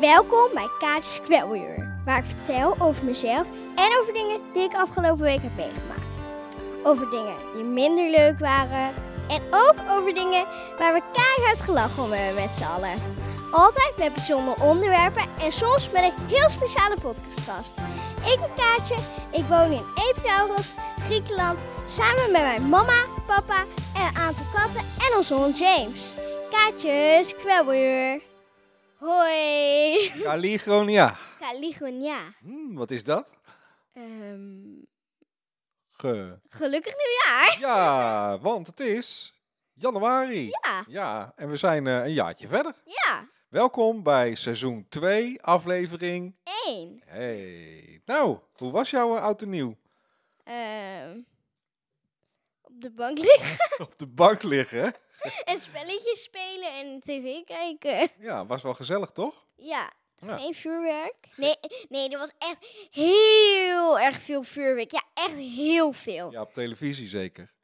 Welkom bij Kaatjes Kwelweer, waar ik vertel over mezelf en over dingen die ik afgelopen week heb meegemaakt. Over dingen die minder leuk waren en ook over dingen waar we keihard gelachen om hebben met z'n allen. Altijd met bijzondere onderwerpen en soms met een heel speciale podcastgast. Ik ben Kaatje, ik woon in Epidaurus, Griekenland, samen met mijn mama, papa en een aantal katten en onze hond James. Kaatjes Kwelweer. Hoi! Caligronia. Caligonia. Hmm, wat is dat? Ehm Ge. gelukkig nieuwjaar! Ja, want het is januari. Ja. Ja, en we zijn eh, een jaartje verder. ja, Welkom bij seizoen 2, aflevering. één. Hey. Nou, hoe was jouw eh, oud en nieuw? Ehm, op de bank liggen Op de bank liggen. en spelletjes spelen en tv kijken. Ja, was wel gezellig, toch? Ja, Ja. geen vuurwerk. Nee, nee, er was echt heel erg veel vuurwerk. Ja, echt heel veel. Ja, op televisie zeker.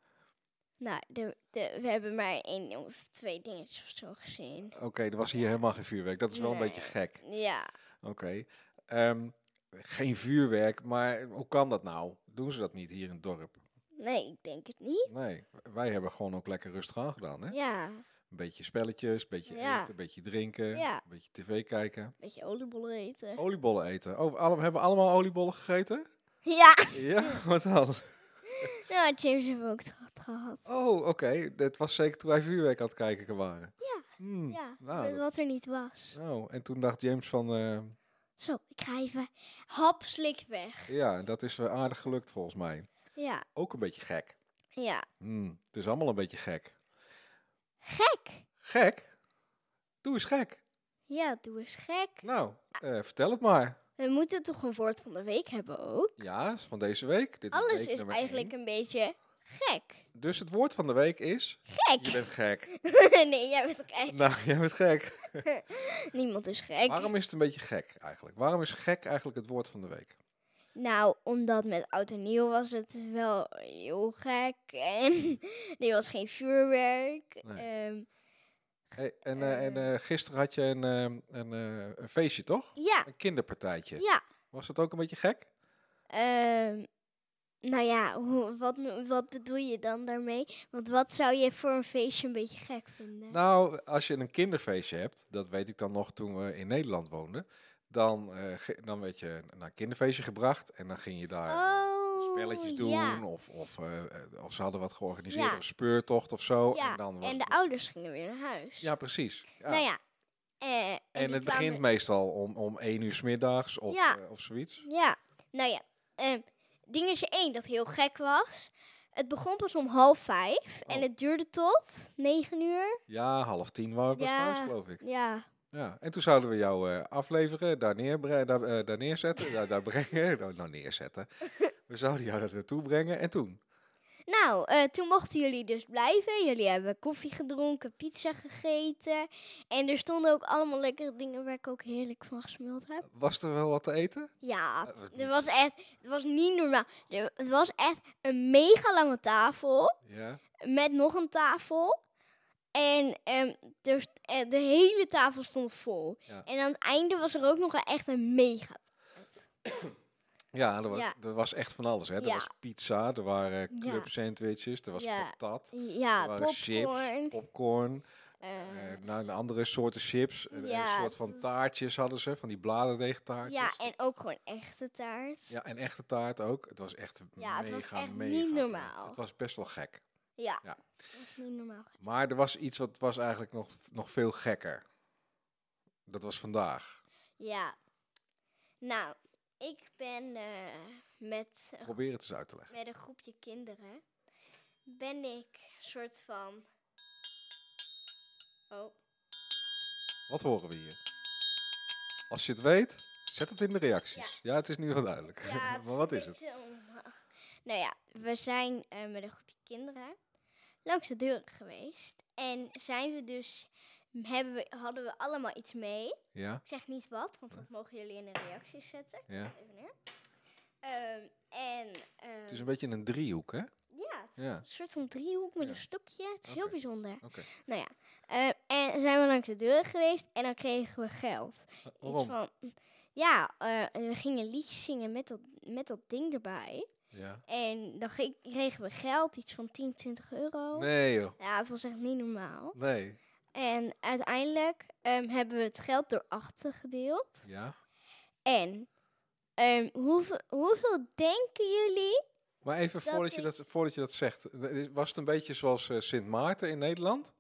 Nou, de, de, we hebben maar één of twee dingetjes of zo gezien. Oké, er was hier helemaal geen vuurwerk. Dat is wel een Nee. beetje gek. Ja, Oké. Ehm, geen vuurwerk, maar hoe kan dat nou? Doen ze dat niet hier in het dorp? nee, ik denk het niet. Nee, wij hebben gewoon ook lekker rustig aangedaan, hè? Ja, Een beetje spelletjes, een beetje Ja. eten, een beetje drinken, Ja. een beetje tv kijken. beetje oliebollen eten. Oliebollen eten. Oh, alle- hebben we allemaal oliebollen gegeten? Ja, Ja, wat dan? nou, James heeft ook het gehad. Oh, oké. Dat was zeker toen wij vuurwerk aan het kijken waren. Ja. Hmm, Ja, Nou, met dat- wat er niet was. nou, en toen dacht James van, eh, Zo, ik ga even hap slik weg. ja, dat is wel aardig gelukt volgens mij. Ja, Ook een beetje gek. ja. Hmm, het is allemaal een beetje gek. Gek. Gek? Doe eens gek. Ja, doe eens gek. Nou, eh, vertel het maar. We moeten toch een woord van de week hebben ook? Ja, is van deze week. Dit Alles week is nummer eigenlijk één. een beetje gek. Dus het woord van de week is... Je Gek. bent gek. nee, jij bent ook echt... Nou, jij bent gek. Niemand is gek. Waarom is het een beetje gek eigenlijk? Waarom is gek eigenlijk het woord van de week? Nou, omdat met oud en nieuw was het wel heel gek. En er was geen vuurwerk. Nee. Ehm, Hey, en eh, en eh, gisteren had je een, eh, een, eh, een feestje, toch? ja, Een kinderpartijtje. ja. Was dat ook een beetje gek? Ehm, nou ja, hoe- wat, no- wat bedoel je dan daarmee? Want wat zou je voor een feestje een beetje gek vinden? Nou, als je een kinderfeestje hebt, dat weet ik dan nog toen we in Nederland woonden, dan, eh, ge- dan werd je naar een kinderfeestje gebracht en dan ging je daar eh, oh, spelletjes doen Ja. of, of, eh, eh, of ze hadden wat georganiseerd, Ja. of een speurtocht of zo. Ja, oh, en, dan was en de het- ouders gingen weer naar huis. Ja, precies. Ja. Nou ja. eh, en En die kwamen- het begint meestal om, om 1 uur 's middags of, Ja. eh, of zoiets. Ja, nou ja. ehm, dingetje 1 dat heel gek was. Het begon pas om half vijf en Oh. het duurde tot negen uur. Ja, half tien waren we pas Ja. thuis, geloof ik. Ja, Ja. En toen zouden we jou eh, afleveren, daar, neerbre- daar, eh, daar neerzetten, daar, daar brengen. Nou, nou, neerzetten. We zouden jou daar naartoe brengen. En toen? Nou, eh, toen mochten jullie dus blijven. Jullie hebben koffie gedronken, pizza gegeten. En er stonden ook allemaal lekkere dingen waar ik ook heerlijk van gesmuld heb. Was er wel wat te eten? Ja, Dat was het niet- was echt, het was niet normaal. Er- Het was echt een mega lange tafel Ja. met nog een tafel. En ehm, er st- eh, de hele tafel stond vol. Ja. En aan het einde was er ook nog een, echt een mega. Ja, er was, Ja. Er was echt van alles. Hè. Er Ja. was pizza, er waren Ja. club sandwiches, er was Ja. patat. Ja, er waren popcorn. chips, popcorn, eh, eh, nou, de andere soorten chips, eh, Ja, een soort het van is- taartjes hadden ze, van die bladerdeegtaartjes. ja, en ook gewoon echte taart. Ja, en echte taart ook. Het was echt Ja, mega, het was echt niet mega vet. normaal. Het was best wel gek. Ja. Ja. Dat is niet normaal. Maar er was iets wat was eigenlijk nog, nog veel gekker. Dat was vandaag. Ja. Nou, ik ben eh, met, een- Probeer het eens uit te leggen. met een groepje kinderen. Ben ik een soort van. Oh, Wat horen we hier? Als je het weet, zet het in de reacties. Ja, het is nu wel duidelijk. ja. het maar wat een is het? beetje onnormaal. Nou ja, we zijn eh, met een groepje kinderen langs de deur geweest. En zijn we dus. Hebben we, hadden we allemaal iets mee. Ja, Ik zeg niet wat, want dat mogen jullie in de reacties zetten. ja. Even neer. Ehm, en. Het is ehm, Eh. een beetje een driehoek, hè? Ja, het gemaakt. Ja, Een soort van driehoek met Ja. een stokje. Het is heel Oké. bijzonder. oké. Nou ja, eh, en zijn we langs de deur geweest en dan kregen we geld. Iets Waarom? van, ja, eh, en we gingen liedjes zingen met dat, met dat ding erbij. Ja. En dan ge- kregen we geld, iets van 10, 20 euro. Nee joh, Ja, het was echt niet normaal. nee. En uiteindelijk ehm, hebben we het geld door achter gedeeld. Ja. En ehm, hoeveel, hoeveel denken jullie? Maar even Dat voordat, je ik- dat, voordat je dat zegt, eh, was het een beetje zoals eh, Sint Maarten in Nederland?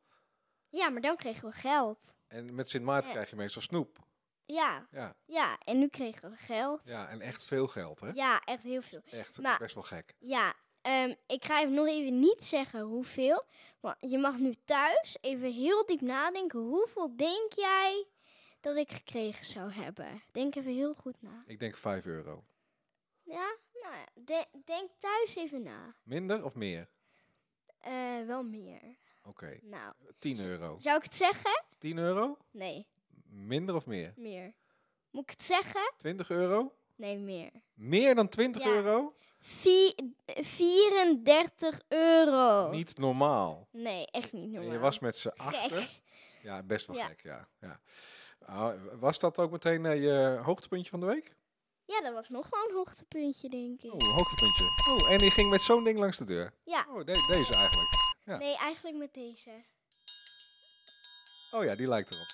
Ja, maar dan kregen we geld. En met Sint Maarten Ja. krijg je meestal snoep. Ja, Ja, ja. En nu kregen we geld. ja en echt veel geld hè? Ja, echt heel veel. Echt Maar- best wel gek. Ja, ehm, ik ga even nog even niet zeggen hoeveel. Maar je mag nu thuis even heel diep nadenken. Hoeveel denk jij dat ik gekregen zou hebben? Denk even heel goed na. Ik denk 5 euro. Ja, nou ja, de- denk thuis even na. Minder of meer? Eh, wel meer. Oké, Nou, 10 euro. zou ik het zeggen? 10 euro? Nee, Minder of meer? meer. Moet ik het zeggen? 20 euro? Nee, meer. Meer dan 20 Ja. euro? Vi- 34 euro. Niet normaal. Nee, echt niet En Oh. normaal. je was met z'n achter. gek. Ja, best wel Ja. gek, ja. ja. Ah, was dat ook meteen eh, je hoogtepuntje van de week? Ja, dat was nog wel een hoogtepuntje, denk ik. Oh, een hoogtepuntje. Oh, en die ging met zo'n ding langs de deur. Ja. Oh, de- deze eigenlijk. Ja. Nee, eigenlijk met deze. Oh ja, die lijkt erop.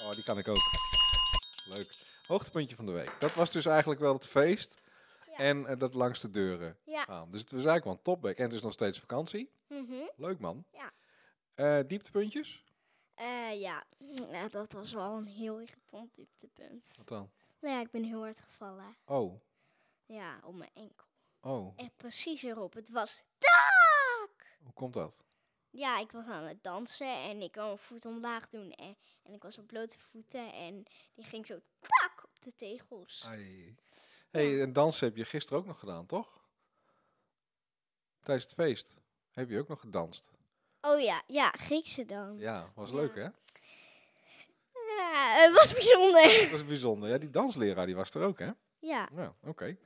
Oh, die kan ik ook. Leuk. Hoogtepuntje van de week. Dat was dus eigenlijk wel het feest. Ja. En eh, dat langs de deuren Ja. gaan. Dus het was eigenlijk wel een topback. En het is nog steeds vakantie. Mhm. Leuk man. Ja. Eh, dieptepuntjes? Eh, ja. ja, dat was wel een heel irritant dieptepunt. Wat dan? Nou ja, ik ben heel hard gevallen. Oh, Ja, op mijn enkel. oh. Echt precies erop. Het was taak! Hoe komt dat? Ja, ik was aan het dansen en ik kwam mijn voet omlaag doen. En, en ik was op blote voeten en die ging zo tak op de tegels. Ai. hey, en dansen heb je gisteren ook nog gedaan, toch? Tijdens het feest heb je ook nog gedanst. Oh ja, ja, Griekse dans. Ja, was leuk hè? Ja, het was bijzonder. Dat was bijzonder. Ja, die dansleraar die was er ook hè? Ja, Ja, oké.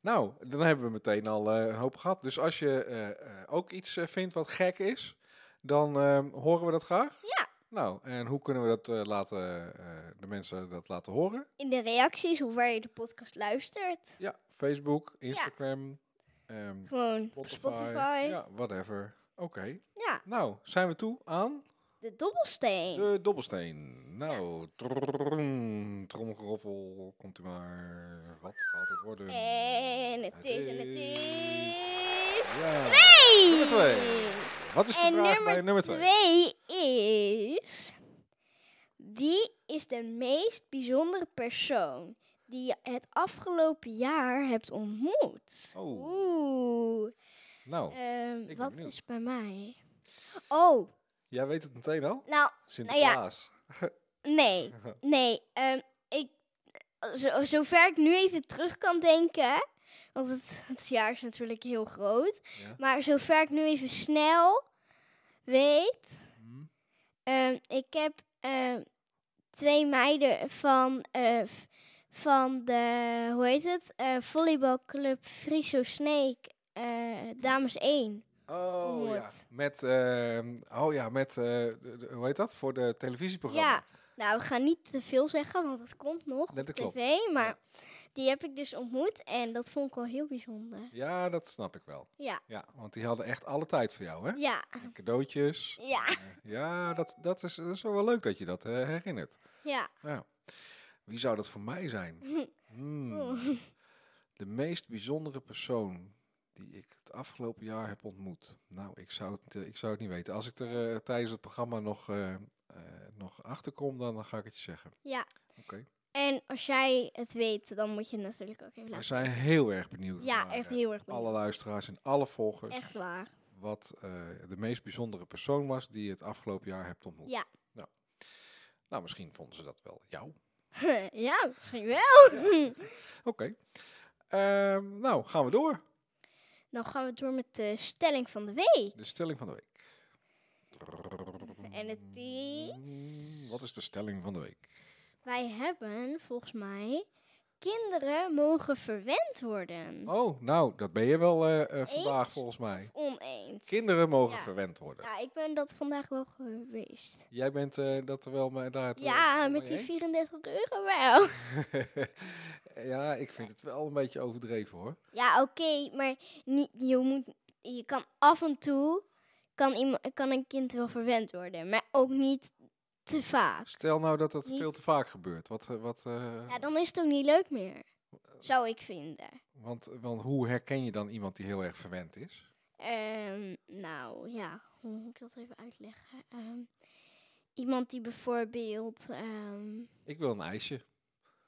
Nou, dan hebben we meteen al eh, een hoop gehad. Dus als je eh, eh, ook iets eh, vindt wat gek is, dan ehm, horen we dat graag. Ja. Nou, en hoe kunnen we dat eh, laten, eh, de mensen dat laten horen? in de reacties hoe ver je de podcast luistert. Ja, Facebook, Instagram, ehm, Gewoon op Spotify. Spotify. Ja, whatever. Oké. ja, Nou, zijn we toe aan de dobbelsteen. de dobbelsteen. Nou, trrrrrrrm, tromgeroffel, komt u maar. Wat gaat het worden? En het is en het is. Ja. Twee! Nummer twee. Wat is de En vraag bij nummer, nummer 2? twee is. Wie is de meest bijzondere persoon die je het afgelopen jaar hebt ontmoet? Oh. Oeh. Nou, Ehm, ben wat benieuwd. is bij mij? Oh, jij weet het meteen al? nou, Sinterklaas. nee. Nee, ehm, ik, zo, zover ik nu even terug kan denken, want het, het jaar is natuurlijk heel groot, Ja. maar zover ik nu even snel weet, Hm. ehm, ik heb ehm, twee meiden van, eh, v- van de, hoe heet het, eh, volleybalclub Friso Snake, eh, dames 1. Oh ja, Ontmoet. met, ehm, oh, ja, met eh, de- de- hoe heet dat? Voor de televisieprogramma. Ja, nou, we gaan niet te veel zeggen, want het komt nog Nee, op dat klopt. tv. Maar die heb ik dus ontmoet en dat vond ik wel heel bijzonder. Ja, dat snap ik wel. Ja, Ja, want die hadden echt alle tijd voor jou, hè? ja, En cadeautjes. ja, Ja, dat, dat, is, dat is wel wel leuk dat je dat eh, herinnert. ja. Ja. Wie zou dat voor mij zijn? Hmm. Oeh. De meest bijzondere persoon die ik het afgelopen jaar heb ontmoet. Nou, ik zou het, eh, ik zou het niet weten. Als ik er eh, tijdens het programma nog, eh eh nog achter kom, dan, dan ga ik het je zeggen. Ja. Oké. En als jij het weet, dan moet je het natuurlijk ook even We laten. zijn heel erg benieuwd. Ja, naar, echt eh, heel erg benieuwd. Alle luisteraars en alle volgers. Echt waar. Wat eh, de meest bijzondere persoon was die je het afgelopen jaar hebt ontmoet. Ja. Nou, nou misschien vonden ze dat wel jou. ja, misschien wel. Oké. Ehm, nou, gaan we door. Dan gaan we door met de stelling van de week. De stelling van de week. En het is... Hmm, Wat is de stelling van de week? Wij hebben volgens mij kinderen mogen verwend worden. Oh, nou, dat ben je wel eh, eh, vandaag Eens? volgens mij. Oneens. Kinderen mogen Ja. verwend worden. Ja, ik ben dat vandaag wel geweest. Jij bent eh, dat er wel mee daar. het wel- Ja, wel met mee die eens? 34 euro wel. ja, ik vind het wel een beetje overdreven hoor. Ja, oké, maar niet, je, moet, je kan af en toe kan, iemand, kan een kind wel verwend worden, maar ook niet te vaak. Stel nou dat dat Niet- veel te vaak gebeurt. Wat, eh, wat, eh, Ja, dan is het ook niet leuk meer, zou ik vinden. want, want hoe herken je dan iemand die heel erg verwend is? Ehm, nou ja, hoe moet ik dat even uitleggen? Ehm, iemand die bijvoorbeeld. ehm, Ik wil een ijsje.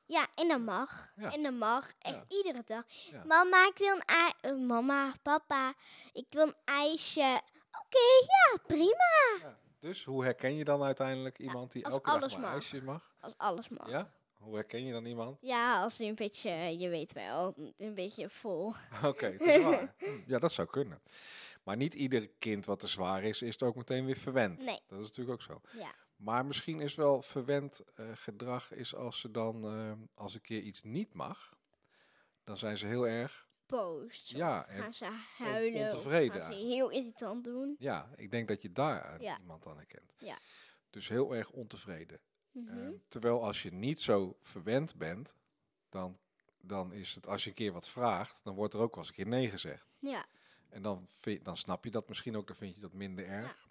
ja, en dat mag. Ja. En dat mag. Echt Ja. iedere dag. Ja. Mama, ik wil een ijsje. mama, papa, ik wil een ijsje. Oké, ja, prima. Dus hoe herken je dan uiteindelijk iemand die als elke dag alles maar mag. ijsje mag? Als alles mag. Ja? Hoe herken je dan iemand? Ja, als hij een beetje, eh, je weet wel, een beetje vol. Oké, het is waar. Hm, Ja, dat zou kunnen. Maar niet ieder kind wat te zwaar is, is het ook meteen weer verwend. Nee. Dat is natuurlijk ook zo. Ja. Maar misschien is wel verwend eh, gedrag is als ze dan, eh, als een keer iets niet mag, dan zijn ze heel erg Boos. Ja, of en- gaan ze huilen. of ontevreden Gaan ze heel irritant doen. Ja, ik denk dat je daar aan Ja. iemand aan herkent. Ja. Dus heel erg ontevreden. Mhm. Ehm, terwijl als je niet zo verwend bent, dan, dan is het als je een keer wat vraagt, dan wordt er ook wel eens een keer nee gezegd. ja. En dan, vind, dan snap je dat misschien ook, dan vind je dat minder erg.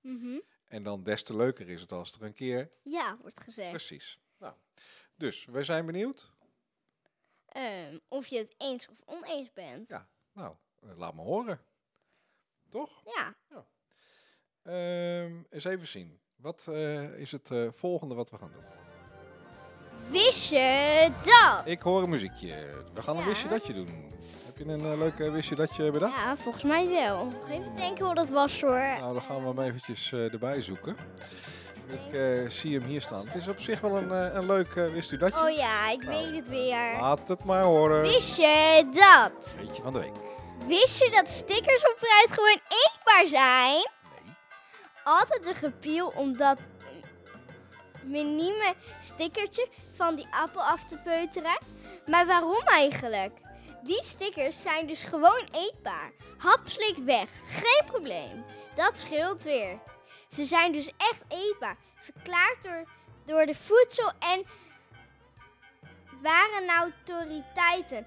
Mhm. En dan des te leuker is het als er een keer. ja, wordt gezegd. Precies. Nou, dus we zijn benieuwd. Ehm, of je het eens of oneens bent. Ja. Nou, eh, laat me horen. Toch? Ja. Ehm, eens even zien. Wat eh, is het eh, volgende wat we gaan doen? Wist je dat? Ik hoor een muziekje. We gaan een Ja. wisje datje doen. Heb je een eh, leuke wisje datje bedacht? Ja, volgens mij wel. Nog Even denken hoe dat was hoor. Nou, dan gaan we hem eventjes eh, erbij zoeken. Ik eh, zie hem hier staan. Het is op zich wel een, eh, een leuk eh, wist u datje. Oh ja, ik Nou, weet het weer. Laat het maar horen. Wist je dat? Beetje van de week. Wist je dat stickers op fruit gewoon eetbaar zijn? Nee. altijd een gepiel om dat minieme stickertje van die appel af te peuteren. Maar waarom eigenlijk? Die stickers zijn dus gewoon eetbaar. Hapslik weg, geen probleem. Dat scheelt weer. Ze zijn dus echt eetbaar, verklaard door, door de voedsel- en warenautoriteiten.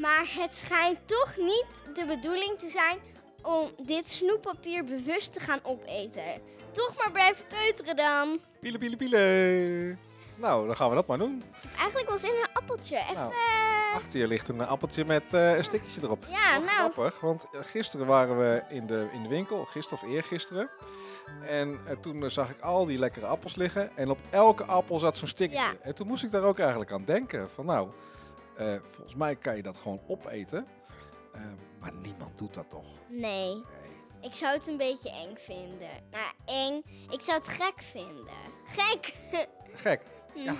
Maar het schijnt toch niet de bedoeling te zijn om dit snoeppapier bewust te gaan opeten. Toch maar blijven peuteren dan. Piele, piele, piele. Nou, dan gaan we dat maar doen. Eigenlijk was in een appeltje. Even. eh, Nou, Achter je ligt een appeltje met eh, een stickertje erop. ja, Wel nou. grappig, want eh, gisteren waren we in de, in de winkel, gisteren of eergisteren. En eh, toen eh, zag ik al die lekkere appels liggen. En op elke appel zat zo'n stickertje. Ja. En toen moest ik daar ook eigenlijk aan denken. Van nou, eh, volgens mij kan je dat gewoon opeten. Eh, maar niemand doet dat toch? Nee, Nee. ik zou het een beetje eng vinden. Nou, eng. Ik zou het gek vinden. Gek! Gek. Hm, Ja,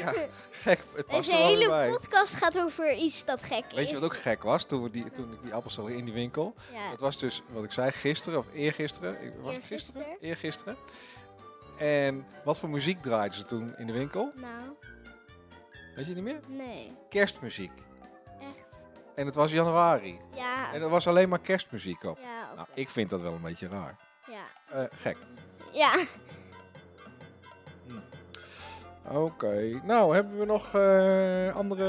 ja. Gek. Het past Deze er wel weer hele bij. podcast gaat over iets dat gek is. Weet je wat ook gek was toen, we die, toen ik die appels zag in die winkel? Ja. Dat was dus wat ik zei gisteren of eergisteren. Ik- Was het gisteren? Eergisteren. Eergisteren. En wat voor muziek draaiden ze toen in de winkel? Nou, Weet je niet meer? nee. Kerstmuziek. Echt. En het was januari. Ja. En er was alleen maar kerstmuziek op. Ja, oké. Nou, ik vind dat wel een beetje raar. ja. Eh, gek. ja. Oké. Nou, hebben we nog eh, andere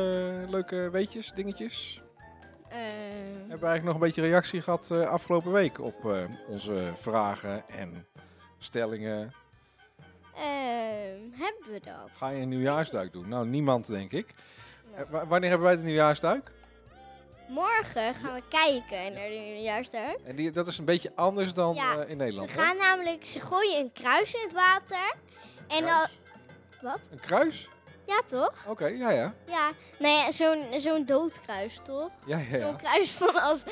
leuke weetjes, dingetjes? Ehm, Hebben we eigenlijk nog een beetje reactie gehad eh, afgelopen week op eh, onze vragen en stellingen? ehm, hebben we dat? Ga je een nieuwjaarsduik doen? Nou, niemand denk ik. Eh, wa- wanneer hebben wij de nieuwjaarsduik? Morgen gaan we kijken naar de nieuwjaarsduik. En die, dat is een beetje anders dan Ja, eh, in Ze Nederland. hè? gaan namelijk, ze gooien een kruis in het water. En dan, Kruis? wat? Een kruis? Ja toch? Oké, ja, ja. Ja, nou ja, zo'n zo'n doodkruis toch? Ja, ja, Zo'n ja. kruis van, als,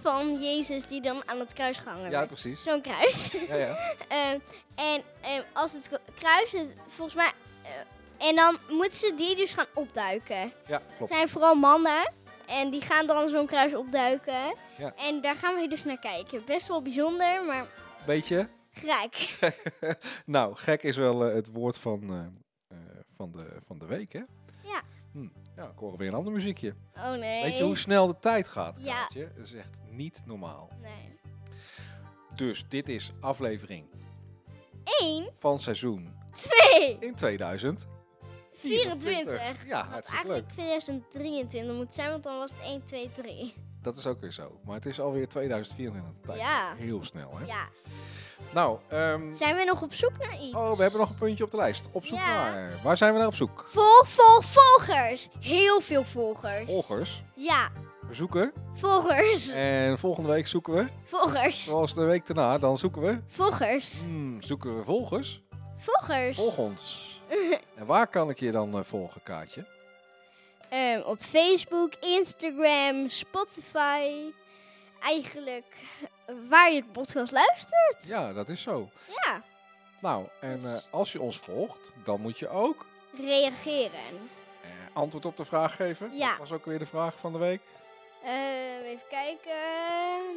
van Jezus die dan aan het kruis gehangen ja werd. precies. Zo'n kruis. Ja, ja. Ehm, en ehm, als het ko- kruis is, volgens mij... eh, en dan moeten ze die dus gaan opduiken. ja, Het klopt. zijn vooral mannen. En die gaan dan zo'n kruis opduiken. Ja. En daar gaan we dus naar kijken. Best wel bijzonder, maar Beetje. Grijk. Nou, gek is wel eh, het woord van, eh, eh, van, de, van de week, hè? Ja. Hm, ja, ik hoor weer een ander muziekje. Oh nee. Weet je hoe snel de tijd gaat, Ja. Kaatje? Dat is echt niet normaal. Nee. Dus dit is aflevering Eén, van seizoen twee. in 2024. 24. Ja, Had Ah, hartstikke leuk. eigenlijk 2023 moet zijn, want dan was het 1, 2, 3. Dat is ook weer zo. Maar het is alweer 2024. De tijd Ja. gaat Heel snel, hè? Ja. Nou, ehm, Zijn we nog op zoek naar iets? oh, we hebben nog een puntje op de lijst. Op zoek Ja. naar. Waar zijn we naar op zoek? Volg, volg, volgers. Heel veel volgers. Volgers. Ja, We zoeken. volgers. En volgende week zoeken we. Volgers. Zoals de week daarna, dan zoeken we. Volgers. Hmm, zoeken we volgers. Volgers. Volg ons. En waar kan ik je dan eh, volgen, Kaatje? Ehm, op Facebook, Instagram, Spotify. Eigenlijk waar je het podcast luistert. Ja, dat is zo. Ja, Nou, en eh, als je ons volgt, dan moet je ook reageren. eh, antwoord op de vraag geven. Ja. Dat was ook weer de vraag van de week. Ehm, even kijken.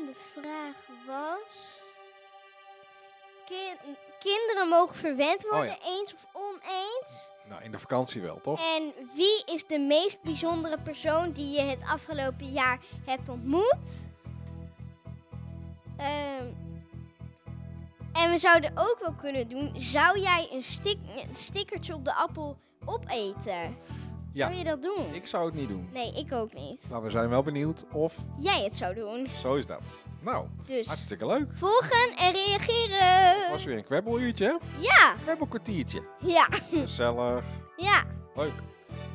De vraag was... Kin- kinderen mogen verwend Oh worden, eens of oneens. Nou, in de vakantie wel, toch? En wie is de meest bijzondere persoon die je het afgelopen jaar hebt ontmoet? Ehm, en we zouden ook wel kunnen doen, zou jij een, stik, een stickertje op de appel opeten? Ja. Zou je dat doen? Ik zou het niet doen. Nee, ik ook niet. Maar Nou, we zijn wel benieuwd of Jij het zou doen. zo is dat. Nou, Dus hartstikke leuk. volgen en reageren. Het was weer een kwebbeluurtje, hè? Ja, Kwebbelkwartiertje. ja, Gezellig. ja. Leuk.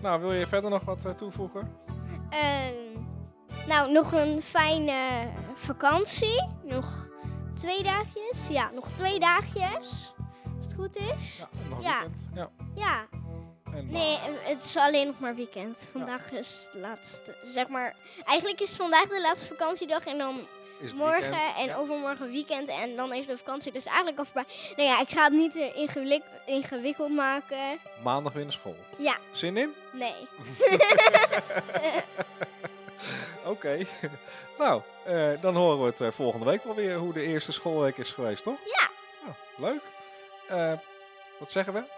Nou, wil je verder nog wat eh, toevoegen? Ehm, nou, nog een fijne vakantie. Nog twee dagjes. Ja, nog twee dagjes. Als het goed is. Ja, nog een Ja. weekend. Ja. Ja. En, Nee, maar- het is alleen nog maar weekend. Vandaag is het laatste, zeg maar... Eigenlijk is vandaag de laatste vakantiedag en dan is het morgen weekend? en Ja. overmorgen weekend. En dan is de vakantie dus eigenlijk al voorbij. Nou ja, ik ga het niet eh, ingelik- ingewikkeld maken. Maandag weer naar school. Ja. Zin in? Nee. Oké. nou, eh, dan horen we het eh, volgende week wel weer hoe de eerste schoolweek is geweest, toch? Ja. Nou, leuk. Eh, wat zeggen we?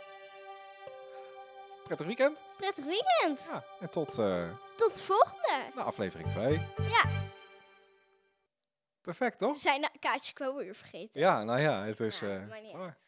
Prettig weekend. Prettig weekend. Ja. En tot eh Tot de volgende. nou, aflevering 2. Ja. Perfect, toch? Zijn kaartjes qua weer vergeten. Ja, nou ja, het is... Nou, eh, maakt niet mooi. uit.